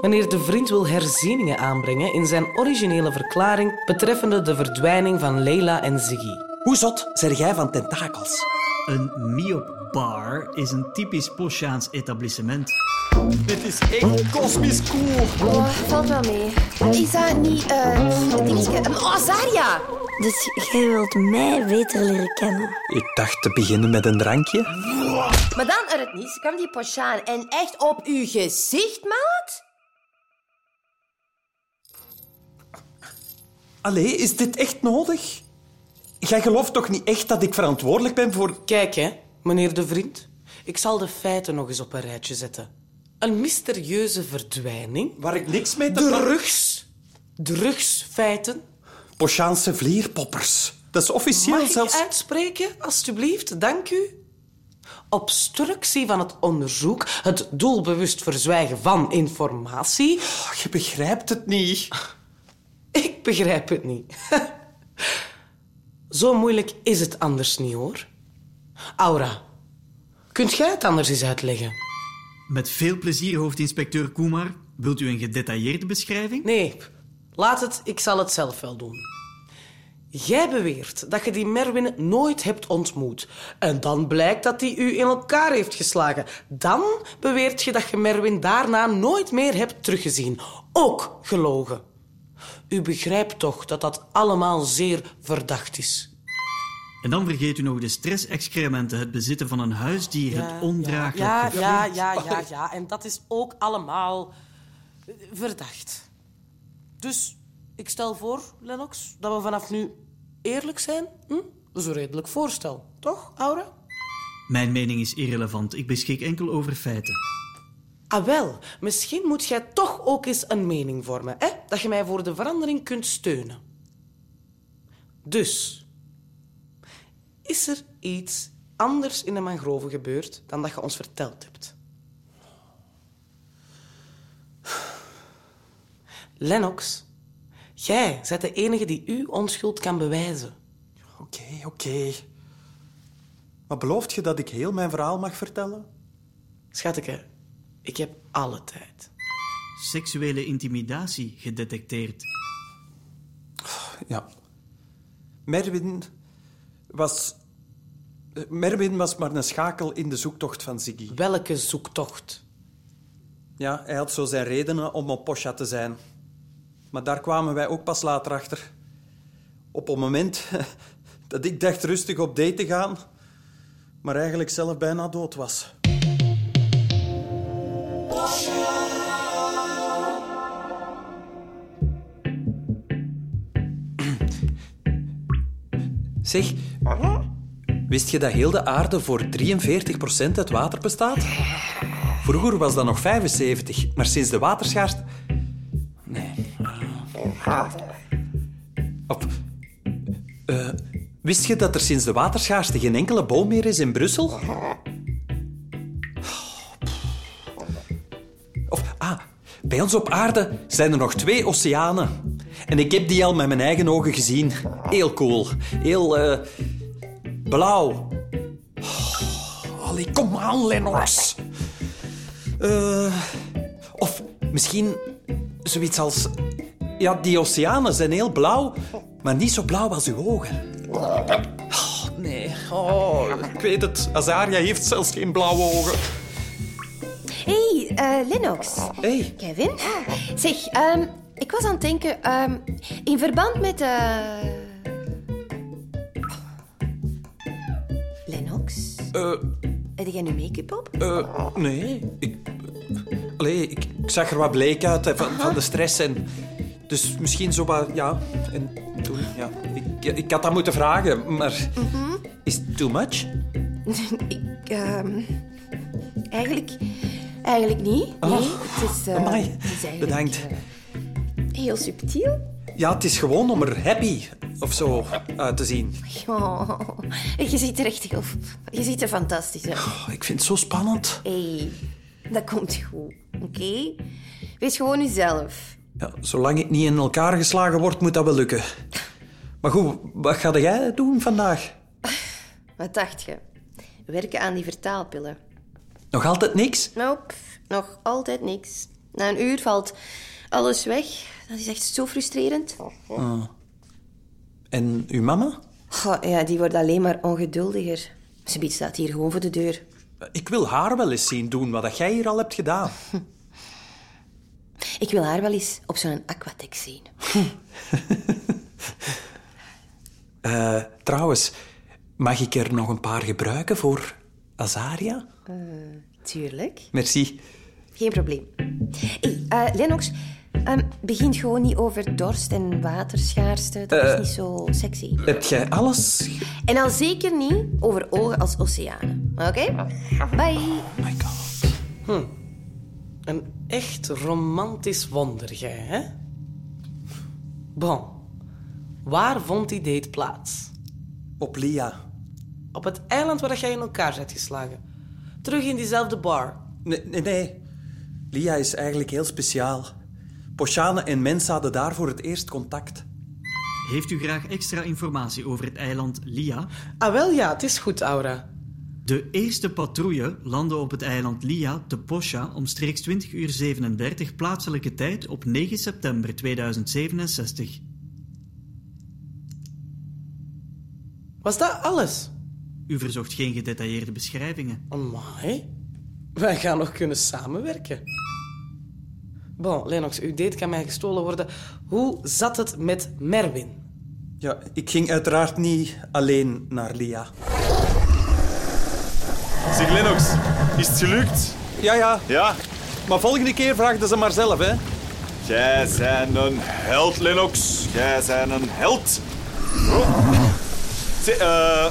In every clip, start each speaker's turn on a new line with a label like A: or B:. A: wanneer de vriend wil herzieningen aanbrengen in zijn originele verklaring betreffende de verdwijning van Leila en Ziggy.
B: Hoe zot zeg jij van tentakels?
C: Een Miop Bar is een typisch Poschaans etablissement.
B: Dit is echt kosmisch cool.
D: Oh, valt wel mee.
E: Is dat niet... eh dingetje? Een Azaria!
D: Dus jij wilt mij beter leren kennen.
B: Ik dacht te beginnen met een drankje.
E: Maar dan er het niet, kwam die Poshaan en echt op uw gezicht, maat?
B: Allee, is dit echt nodig? Jij gelooft toch niet echt dat ik verantwoordelijk ben voor...
A: Kijk, hè, meneer de vriend. Ik zal de feiten nog eens op een rijtje zetten. Een mysterieuze verdwijning.
B: Waar ik niks mee te...
A: Drugs. Drugsfeiten.
B: Poschaanse vlierpoppers. Dat is officieel
A: Mag ik
B: zelfs...
A: uitspreken, alstublieft? Dank u. Obstructie van het onderzoek, het doelbewust verzwijgen van informatie.
B: Oh, je begrijpt het niet.
A: Ik begrijp het niet. Zo moeilijk is het anders niet, hoor. Aura, kunt jij het anders eens uitleggen?
C: Met veel plezier, hoofdinspecteur Koemar. Wilt u een gedetailleerde beschrijving?
A: Nee, laat het. Ik zal het zelf wel doen. Jij beweert dat je die Merwin nooit hebt ontmoet. En dan blijkt dat hij u in elkaar heeft geslagen. Dan beweert je dat je Merwin daarna nooit meer hebt teruggezien. Ook gelogen. U begrijpt toch dat dat allemaal zeer verdacht is.
C: En dan vergeet u nog de stressexcrementen, het bezitten van een huisdier, het ondraaglijk
A: ja,
C: gevoel.
A: ja, ja, ja, ja. En dat is ook allemaal eh, verdacht. Dus ik stel voor, Lennox, dat we vanaf nu eerlijk zijn. Hm? Dat is een redelijk voorstel, toch, Aura?
C: Mijn mening is irrelevant. Ik beschik enkel over feiten.
A: Ah wel, misschien moet jij toch ook eens een mening vormen, hè? Dat je mij voor de verandering kunt steunen. Dus, is er iets anders in de mangroven gebeurd dan dat je ons verteld hebt? Lennox, jij bent de enige die uw onschuld kan bewijzen.
B: Oké, oké. Maar belooft je dat ik heel mijn verhaal mag vertellen?
A: Schatke, ik heb alle tijd.
C: Seksuele intimidatie gedetecteerd.
B: Ja. Merwin was... eh, Merwin was maar een schakel in de zoektocht van Ziggy.
A: Welke zoektocht?
B: Ja, hij had zo zijn redenen om op Poscha te zijn. Maar daar kwamen wij ook pas later achter. Op het moment dat ik dacht rustig op date te gaan, maar eigenlijk zelf bijna dood was. Zeg, wist je dat heel de aarde voor 43% uit water bestaat? Vroeger was dat nog 75, maar sinds de waterschaarste... Nee. Op. Eh, wist je dat er sinds de waterschaarste geen enkele boom meer is in Brussel? Of, ah, bij ons op aarde zijn er nog twee oceanen. En ik heb die al met mijn eigen ogen gezien. Heel cool. Heel, eh, blauw. Oh, allee, kom aan, Lennox. Eh, of misschien zoiets als... Ja, die oceanen zijn heel blauw, maar niet zo blauw als uw ogen. Oh, nee. Oh, ik weet het. Azaria heeft zelfs geen blauwe ogen.
E: Hé, hey, eh, Lennox.
B: hey,
E: Kevin? Zeg, ehm, ik was aan het denken... ehm, in verband met... eh, Lennox?
B: eh,
E: Heb jij nu make-up op?
B: eh, nee. Ik, allee, ik, ik zag er wat bleek uit hè, van, van de stress en... Dus misschien zo wat... Ja, en toen... Ja, ik, ik had dat moeten vragen, maar... Is it too much?
E: Ik, ehm, eigenlijk, eigenlijk niet. Nee, het is, eh,
B: Ah. Amai,
E: het is eigenlijk,
B: bedankt.
E: eh, heel subtiel.
B: Ja, het is gewoon om er happy of zo uit te zien.
E: Oh, je ziet er echt heel... Je ziet er fantastisch uit.
B: Oh, ik vind het zo spannend.
E: hey, dat komt goed, oké? Wees gewoon jezelf.
B: Ja, zolang ik niet in elkaar geslagen word, moet dat wel lukken. Maar goed, wat ga jij doen vandaag?
E: Wat dacht je? Werken aan die vertaalpillen.
B: Nog altijd niks?
E: Nope, nog altijd niks. Na een uur valt alles weg. Dat is echt zo frustrerend.
B: En uw mama?
E: Goh, ja, die wordt alleen maar ongeduldiger. Ze biedt staat hier gewoon voor de deur.
B: Ik wil haar wel eens zien doen wat dat jij hier al hebt gedaan.
E: Ik wil haar wel eens op zo'n aquatec zien.
B: Eh, trouwens, mag ik er nog een paar gebruiken voor Azaria?
E: Tuurlijk.
B: Merci.
E: Geen probleem. Hé, eh, Lennox, ehm, begint gewoon niet over dorst en waterschaarste. Dat is niet zo sexy.
B: Heb jij alles?
E: En al zeker niet over ogen als oceanen. Oké? Bye.
B: Oh my god.
A: Een echt romantisch wonder, jij, hè? Bon. Waar vond die date plaats?
B: Op Lia.
A: Op het eiland waar jij in elkaar bent geslagen. Terug in diezelfde bar.
B: Nee, nee, nee. Lia is eigenlijk heel speciaal. Pochane en Mens hadden daar voor het eerst contact.
C: Heeft u graag extra informatie over het eiland Lia?
A: Ah, wel ja, het is goed, Aura.
C: De eerste patrouille landde op het eiland Lia te Poscha omstreeks 20 uur 37 plaatselijke tijd op 9 september 2067.
A: Was dat alles?
C: U verzocht geen gedetailleerde beschrijvingen.
A: Amai. Wij gaan nog kunnen samenwerken. Bon, Lennox, uw date kan mij gestolen worden. Hoe zat het met Merwin?
B: Ja, ik ging uiteraard niet alleen naar Lia.
F: Zeg Lennox, is het gelukt?
B: Ja, ja.
F: Ja,
B: Maar volgende keer vraagden ze maar zelf, hè.
F: jij zijn een held, Lennox. Jij zijn een held. Oh. Zeg, eh,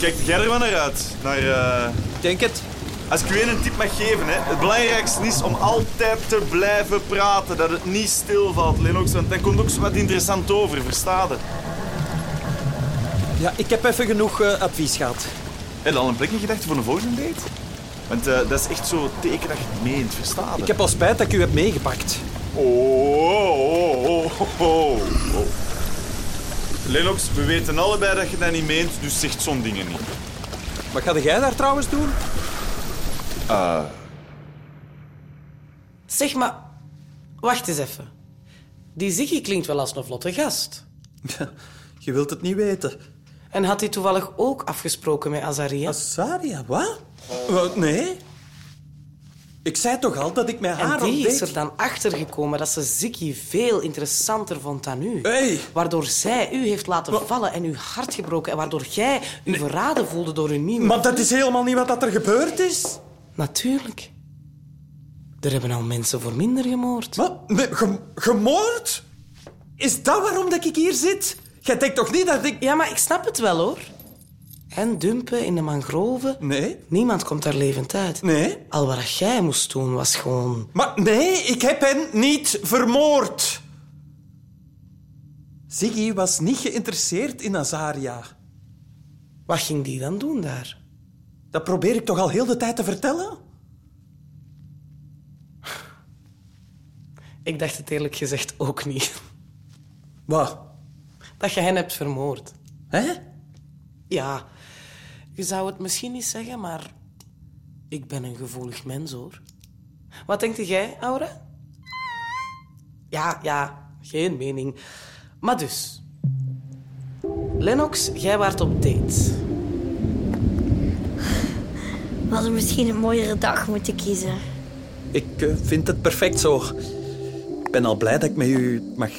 F: kijk jij er wel naar uit? Naar, eh,
B: Ik Denk het.
F: Als ik u één tip mag geven, hè. het belangrijkste is om altijd te blijven praten. Dat het niet stilvalt, Lennox. Want dan komt ook zo wat interessant over, verstaan je?
B: Ja, ik heb even genoeg eh, advies gehad.
F: Heb je al een plek in gedachten voor een volgende date? Want eh, dat is echt zo'n teken dat je het meent, verstaan je?
B: Ik heb al spijt dat ik u heb meegepakt.
F: Oh, oh, oh, oh, oh. Lennox, we weten allebei dat je dat niet meent, dus zegt zo'n dingen niet.
B: Wat ga jij daar trouwens doen?
A: Zeg maar, wacht eens even. Die Ziggy klinkt wel als een vlotte gast.
B: Je wilt het niet weten.
A: En had hij toevallig ook afgesproken met Azaria?
B: Azaria, wat? Wat? Nee. Ik zei toch al dat ik mij haar
A: En
B: ontdeed.
A: die is er dan achter gekomen dat ze Ziggy veel interessanter vond dan u.
B: Hey.
A: Waardoor zij u heeft laten vallen en uw hart gebroken. En waardoor jij u verraden voelde door uw nieuwe...
B: Maar dat is helemaal niet wat dat er gebeurd is.
A: Natuurlijk. Er hebben al mensen voor minder gemoord.
B: Wat? Nee, ge- gemoord? Is dat waarom dat ik hier zit? Jij denkt toch niet dat ik...
A: Ja, maar ik snap het wel, hoor. En dumpen in de mangroven.
B: Nee.
A: Niemand komt daar levend uit.
B: Nee.
A: Al wat jij moest doen, was gewoon...
B: Maar nee, ik heb hen niet vermoord. Ziggy was niet geïnteresseerd in Azaria.
A: Wat ging die dan doen daar?
B: Dat probeer ik toch al heel de tijd te vertellen?
A: Ik dacht het eerlijk gezegd ook niet.
B: Wat?
A: Dat je hen hebt vermoord.
B: Hè?
A: Ja, je zou het misschien niet zeggen, maar ik ben een gevoelig mens hoor. Wat denkt jij, Aura? Ja, ja, geen mening. Maar dus. Lennox, jij waart op date.
D: We hadden misschien een mooiere dag moeten kiezen.
B: Ik eh, vind het perfect zo. Ik ben al blij dat ik met u mag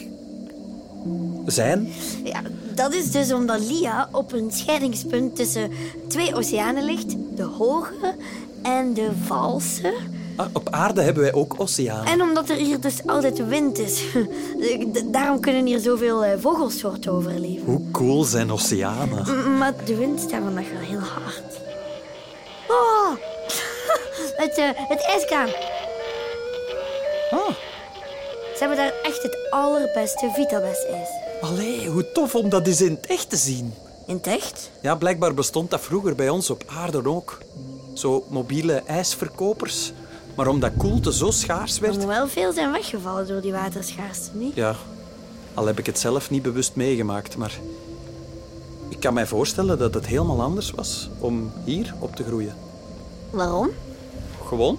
B: zijn.
D: Ja, dat is dus omdat Lia op een scheidingspunt tussen twee oceanen ligt. De hoge en de valse.
B: Ah, op aarde hebben wij ook oceanen.
D: En omdat er hier dus altijd wind is. D- Daarom kunnen hier zoveel eh, vogelsoorten overleven.
B: Hoe cool zijn oceanen?
D: M- Maar de wind staat vandaag wel heel hard. Oh, het, eh, het ijskaam.
B: Ah,
D: Ze hebben daar echt het allerbeste Vitabes-ijs.
B: allee, hoe tof om dat eens in het echt te zien.
D: In het echt?
B: Ja, blijkbaar bestond dat vroeger bij ons op aarde ook. Zo mobiele ijsverkopers. Maar omdat koelte zo schaars
D: Er
B: werd...
D: moet wel veel zijn weggevallen door die waterschaarste, niet?
B: Ja, al heb ik het zelf niet bewust meegemaakt, maar... Ik kan mij voorstellen dat het helemaal anders was om hier op te groeien.
D: Waarom?
B: Gewoon.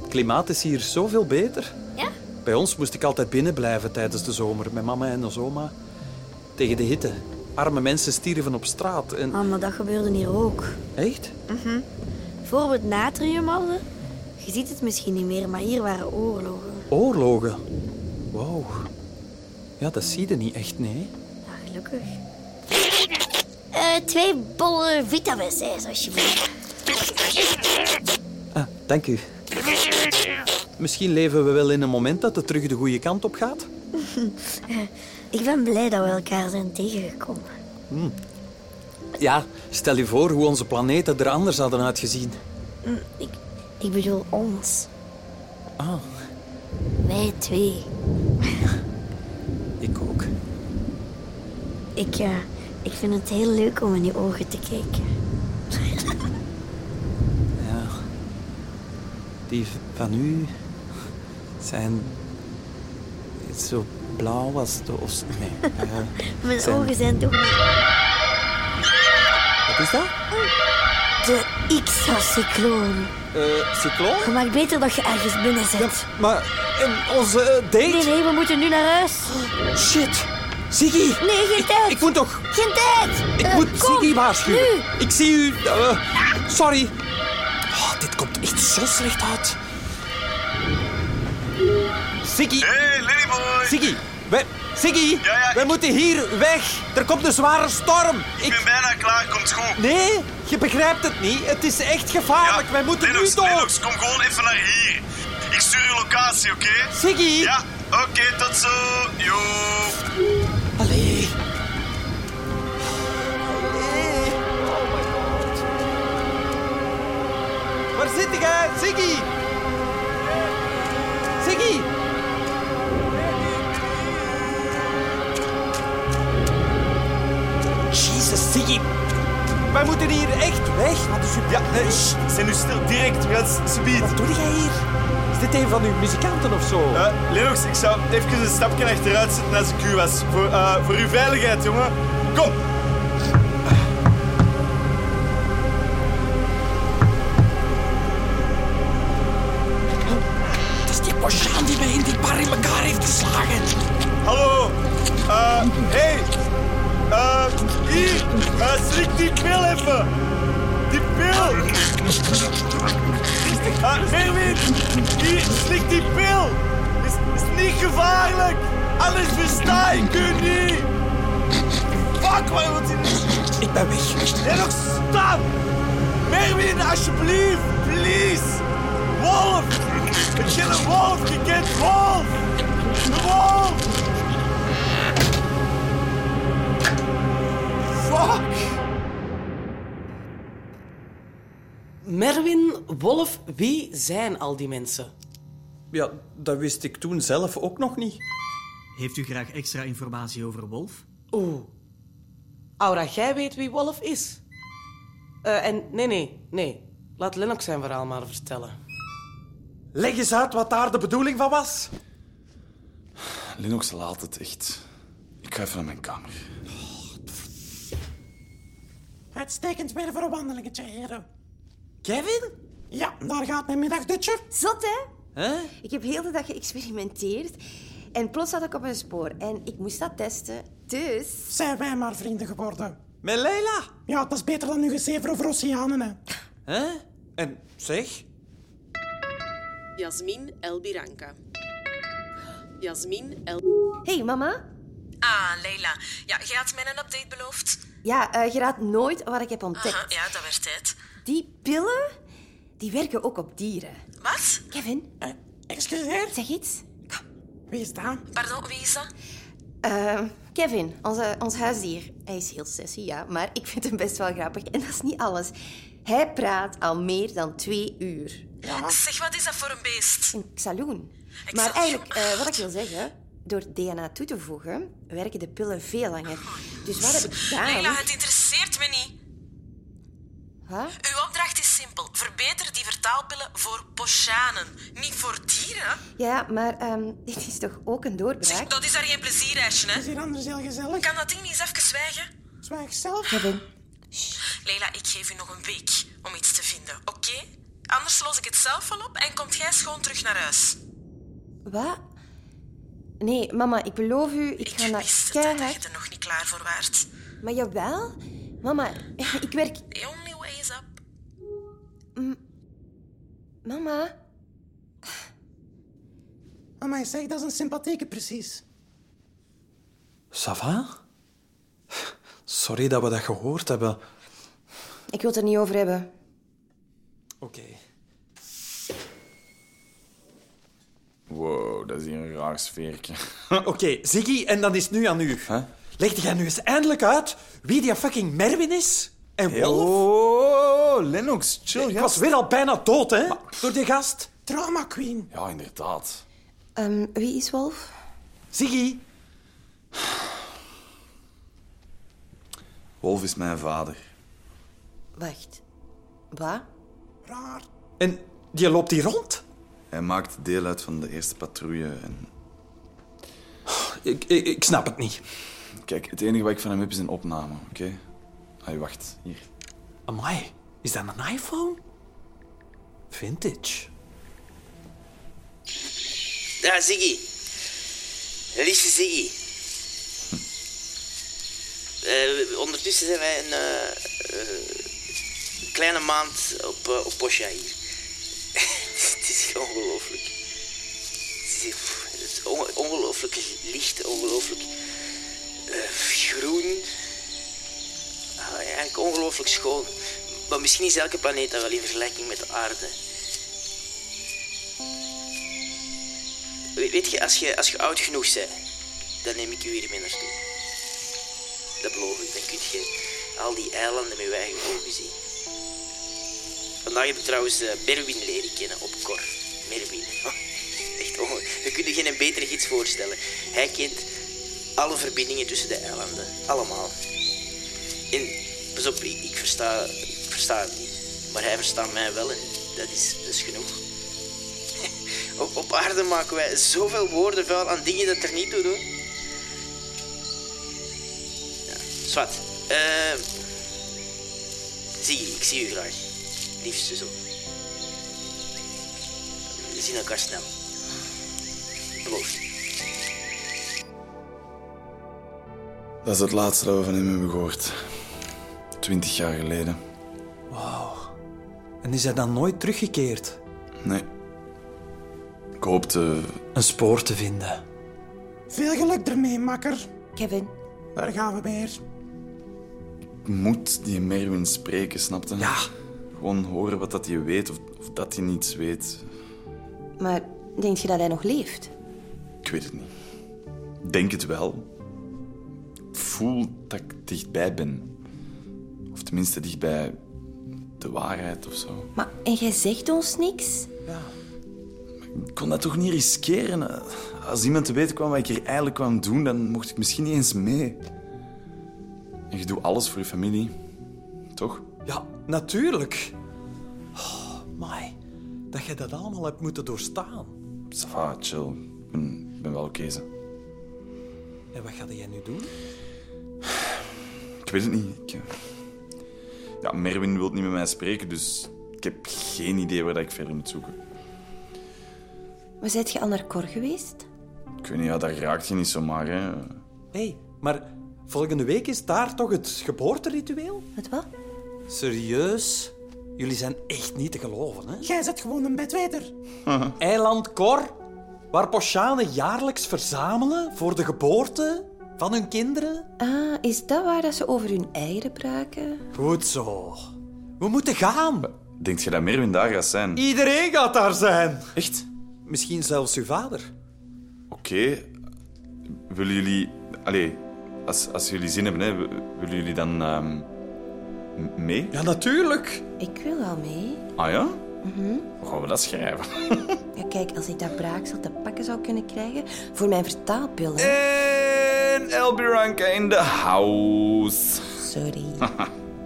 B: Het klimaat is hier zoveel beter.
D: Ja,
B: Bij ons moest ik altijd binnen blijven tijdens de zomer. Mijn mama en ons oma. Tegen de hitte. Arme mensen stierven op straat. En...
D: Ah, maar dat gebeurde hier ook.
B: Echt?
D: Voor we het natrium hadden, je ziet het misschien niet meer, maar hier waren oorlogen.
B: Oorlogen. Wauw. Ja, dat zie je niet echt, nee.
D: Ja, gelukkig. Eh, twee bollen vitamins, alsjeblieft.
B: Ah, dank u. Misschien leven we wel in een moment dat het terug de goede kant op gaat.
D: Ik ben blij dat we elkaar zijn tegengekomen.
B: Ja, stel je voor hoe onze planeten er anders hadden uitgezien.
D: Ik, ik bedoel ons.
B: Ah,
D: Wij twee.
B: ik ook.
D: Ik, eh, ik vind het heel leuk om in je ogen te kijken.
B: Ja. Die van u zijn zo blauw als de oost. Nee. eh,
D: Mijn
B: Zijn-
D: ogen zijn toch maar
B: wat is dat?
D: de X-cycloon.
B: Eh cycloon?
D: Je maakt beter dat je ergens binnen zit.
B: Maar en onze eh, date?
D: Nee, nee, we moeten nu naar huis.
B: Shit. Ziggy.
D: Nee, geen tijd.
B: Ik moet toch...
D: Geen tijd.
B: Ik
D: Eh,
B: moet
D: kom,
B: Ziggy waarschuwen.
D: Nu.
B: Ik zie u... eh, sorry. Ah, dit komt echt zo slecht uit. Ziggy.
F: Hey, Ladyboy!
B: Ziggy, wij, Ziggy,
F: Ja, ja,
B: wij
F: ik-
B: moeten hier weg. Er komt een zware storm. Ik,
F: bijna klaar, komt goed.
B: Nee, je begrijpt het niet. Het is echt gevaarlijk. wij moeten
F: Lennox,
B: nu door.
F: Lennox, kom gewoon even naar hier. Ik stuur je locatie, oké?
B: Ziggy.
F: Ja, oké, tot zo. Yo.
B: Allee. Waar zit jij, Ziggy? Ziggy! Jezus, Ziggy. Wij moeten hier echt weg. Wat is uw...
F: Ja, nee, shh, zijn nu stil direct, we gaan s- subiet.
B: Wat doe jij hier? Is dit een van uw muzikanten of zo?
F: Eh, Lennox, ik zou even een stapje achteruit zitten als ik u was. Voor, eh, voor uw veiligheid, jongen. Kom.
B: Het is die Bosjaan die mij in die bar in elkaar heeft geslagen.
F: Hallo. Eh, hey. Eh, hier. Eh, slik die pil even. Die pil. Ah, Erwin. Hier, slik die pil. Is, is niet gevaarlijk. Alles versta ik u niet. Fuck, waar wordt die...
B: Ik ben weg.
F: Lennox, stop. Merwin, alsjeblieft. Please. Wolf. Ik ken een wolf. Je kent wolf. De wolf. Fuck.
A: Merwin, Wolf, wie zijn al die mensen?
B: Ja, dat wist ik toen zelf ook nog niet.
C: Heeft u graag extra informatie over Wolf?
A: Oeh. Aura, jij weet wie Wolf is. Eh, en nee, nee, nee. Laat Lennox zijn verhaal maar vertellen.
B: Leg eens uit wat daar de bedoeling van was.
F: Linux laat het echt. Ik ga even naar mijn kamer.
G: Uitstekend weer voor een wandelingetje, heren.
B: Kevin?
G: Ja, daar gaat mijn middagdutje.
E: Zot, hè?
B: Hè?
E: Ik heb heel de dag geëxperimenteerd. En plots zat ik op een spoor. En ik moest dat testen. Dus...
G: Zijn wij maar vrienden geworden.
B: Met Leila?
G: Ja, dat is beter dan nu gezever over oceanen, hè.
B: Hè? En zeg?
H: Jasmin El Biranca. Jasmin El...
E: hey, mama.
H: Ah, Leila. Ja, jij had mij een update beloofd.
E: Ja, eh, je raadt nooit wat ik heb ontdekt.
H: Aha, ja, dat werd tijd.
E: Die pillen, die werken ook op dieren.
H: Wat?
E: Kevin,
G: Eh, excuseer,
E: zeg iets.
G: wie is dat?
H: Pardon, wie is dat?
E: Eh, Kevin, onze, ons huisdier. Hij is heel sessie, ja, maar ik vind hem best wel grappig. En dat is niet alles. Hij praat al meer dan twee uur.
H: Zeg, wat is dat voor een beest?
E: Een xaloen.
H: Xaloen.
E: Maar eigenlijk, eh, wat ik wil zeggen... Door DNA toe te voegen, werken de pillen veel langer. Dus wat heb ik gedaan?
H: Leila, het interesseert me niet. Eh,
E: Huh?
H: Uw opdracht is simpel. Verbeter die vertaalpillen voor poschanen, niet voor dieren.
E: Ja, maar ehm, dit is toch ook een
H: Zeg,
E: doorbraak?
H: dat is daar geen plezierreisje, hè?
G: Is hier anders heel gezellig?
H: Kan dat ding niet eens even zwijgen?
G: Zwijg zelf.
E: Kevin,
H: Leila, ik geef u nog een week om iets te vinden, oké? Anders los ik het zelf wel op en komt jij schoon terug naar huis.
E: wat? Nee, mama, ik beloof u, ik
H: Ik
E: ga naar
H: wist het, hè, dat
E: keihard...
H: je er nog niet klaar voor waart.
E: Maar jawel, mama, ik werk...
H: The only way is up.
E: Mama,
G: Amai, zeg, dat is een sympathieke precies.
B: Ça va? Sorry dat we dat gehoord hebben. Oké.
E: ik wil het er niet over hebben.
F: Wow, dat is hier een raar sfeertje.
B: Oké, Ziggy, en dan is het nu aan u.
F: Huh?
B: Leg jij nu eens eindelijk uit wie die fucking Merwin is? En Wolf?
F: Oh, Lennox, chill,
B: Ik
F: ja.
B: was weer al bijna dood, hè? Door die gast.
G: Trauma queen.
F: Ja, inderdaad.
E: Ehm, wie is Wolf?
B: Ziggy,
F: Wolf is mijn vader.
E: Wacht. Wat?
G: Raar.
B: en die loopt hier rond?
F: Hij maakt deel uit van de eerste patrouille. En...
B: Ik, ik, ik snap het niet.
F: Kijk, het enige wat ik van hem heb is een opname, oké? Hij wacht, hier.
B: Amai, is dat een iPhone? Vintage.
I: Ja, Ziggy. Lieve Ziggy. Eh, ondertussen zijn wij een eh, eh, kleine maand op, eh, op Porsche hier. het, is, het is ongelooflijk. Het is, hier- pff, het is onge- ongelooflijk licht, ongelooflijk eh, groen. Ah, eigenlijk ongelooflijk schoon. Maar misschien is elke planeet dat wel in vergelijking met de aarde. We- Weet je, als je, als je oud genoeg bent, dan neem ik u hier mee naartoe. Dat beloof ik. Dan kun je al die eilanden met je eigen ogen zien. Vandaag heb ik trouwens eh, Merwin leren kennen op Kor. Merwin. Echt onge... Je kunt je geen betere gids voorstellen. Hij kent alle verbindingen tussen de eilanden. Allemaal. En, pas op, ik, ik versta, ik versta het niet. Maar hij verstaat mij wel en dat is, dat is genoeg. Op, op aarde maken wij zoveel woorden vuil aan dingen dat er niet toe doen. Ja, zwart. Eh, zie je, ik zie u graag. Liefste zo. We zien elkaar snel. Beloofd.
F: Dat is het laatste dat we van hem hebben gehoord. Twintig jaar geleden.
B: En is hij dan nooit teruggekeerd?
F: Nee. Ik hoopte...
B: Een spoor te vinden.
G: Veel geluk ermee, makker.
E: Kevin.
G: Daar gaan we weer.
F: Ik moet die Merwin spreken, snapte?
B: Ja.
F: Gewoon horen wat dat hij weet of, of dat hij niets weet.
E: Maar denk je dat hij nog leeft?
F: Ik weet het niet. Denk het wel. Ik voel dat ik dichtbij ben. Of tenminste dichtbij de waarheid of zo.
E: Maar, en jij zegt ons niks?
F: Ik kon dat toch niet riskeren? Als iemand te weten kwam wat ik hier eigenlijk kwam doen, dan mocht ik misschien niet eens mee. En je doet alles voor je familie, toch?
B: Ja, natuurlijk. Oh, my. Dat jij dat allemaal hebt moeten doorstaan.
F: Ça va, chill. Ik ben, ben wel oké. zo.
B: En wat ga jij nu doen?
F: Ik weet het niet. Ik, eh, ja, Merwin wil niet met mij spreken, dus ik heb geen idee waar dat ik verder moet zoeken.
E: Maar zijt je al naar Cor geweest?
F: Ik weet niet, ja, dat raakt je niet zomaar. Hè.
B: Hé, hey, maar volgende week is daar toch het geboorteritueel?
E: Het wat?
B: Serieus? Jullie zijn echt niet te geloven, hè?
G: Jij zit gewoon een bedweter.
B: Eiland Kor, waar Poschanen jaarlijks verzamelen voor de geboorte van hun kinderen?
E: Ah, is dat waar dat ze over hun eieren praken?
B: Goed zo. We moeten gaan.
F: Denkt je dat Merwin daar gaat zijn?
B: Iedereen gaat daar zijn.
F: Echt?
B: Misschien zelfs uw vader.
F: Oké. Willen jullie... Allee, als, als jullie zin hebben, hè, w- willen jullie dan ehm, m- mee?
B: Ja, natuurlijk.
E: Ik wil wel mee.
F: Ah ja? Hoe gaan we dat schrijven?
E: Ja, kijk, als ik dat braaksel te pakken zou kunnen krijgen voor mijn vertaalpil,
B: Eh.
E: hè.
F: En Elbiranka in the house.
E: Sorry.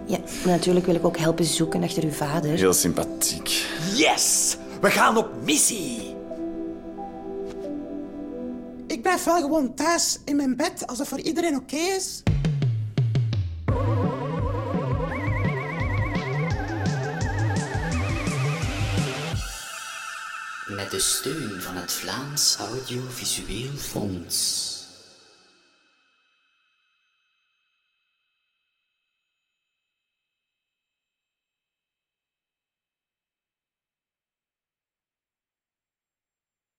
E: Ja, natuurlijk wil ik ook helpen zoeken achter uw vader.
F: Heel sympathiek.
B: Yes! We gaan op missie.
G: Ik blijf wel gewoon thuis in mijn bed, als dat voor iedereen oké is.
J: Met de steun van het Vlaams Audiovisueel Fonds.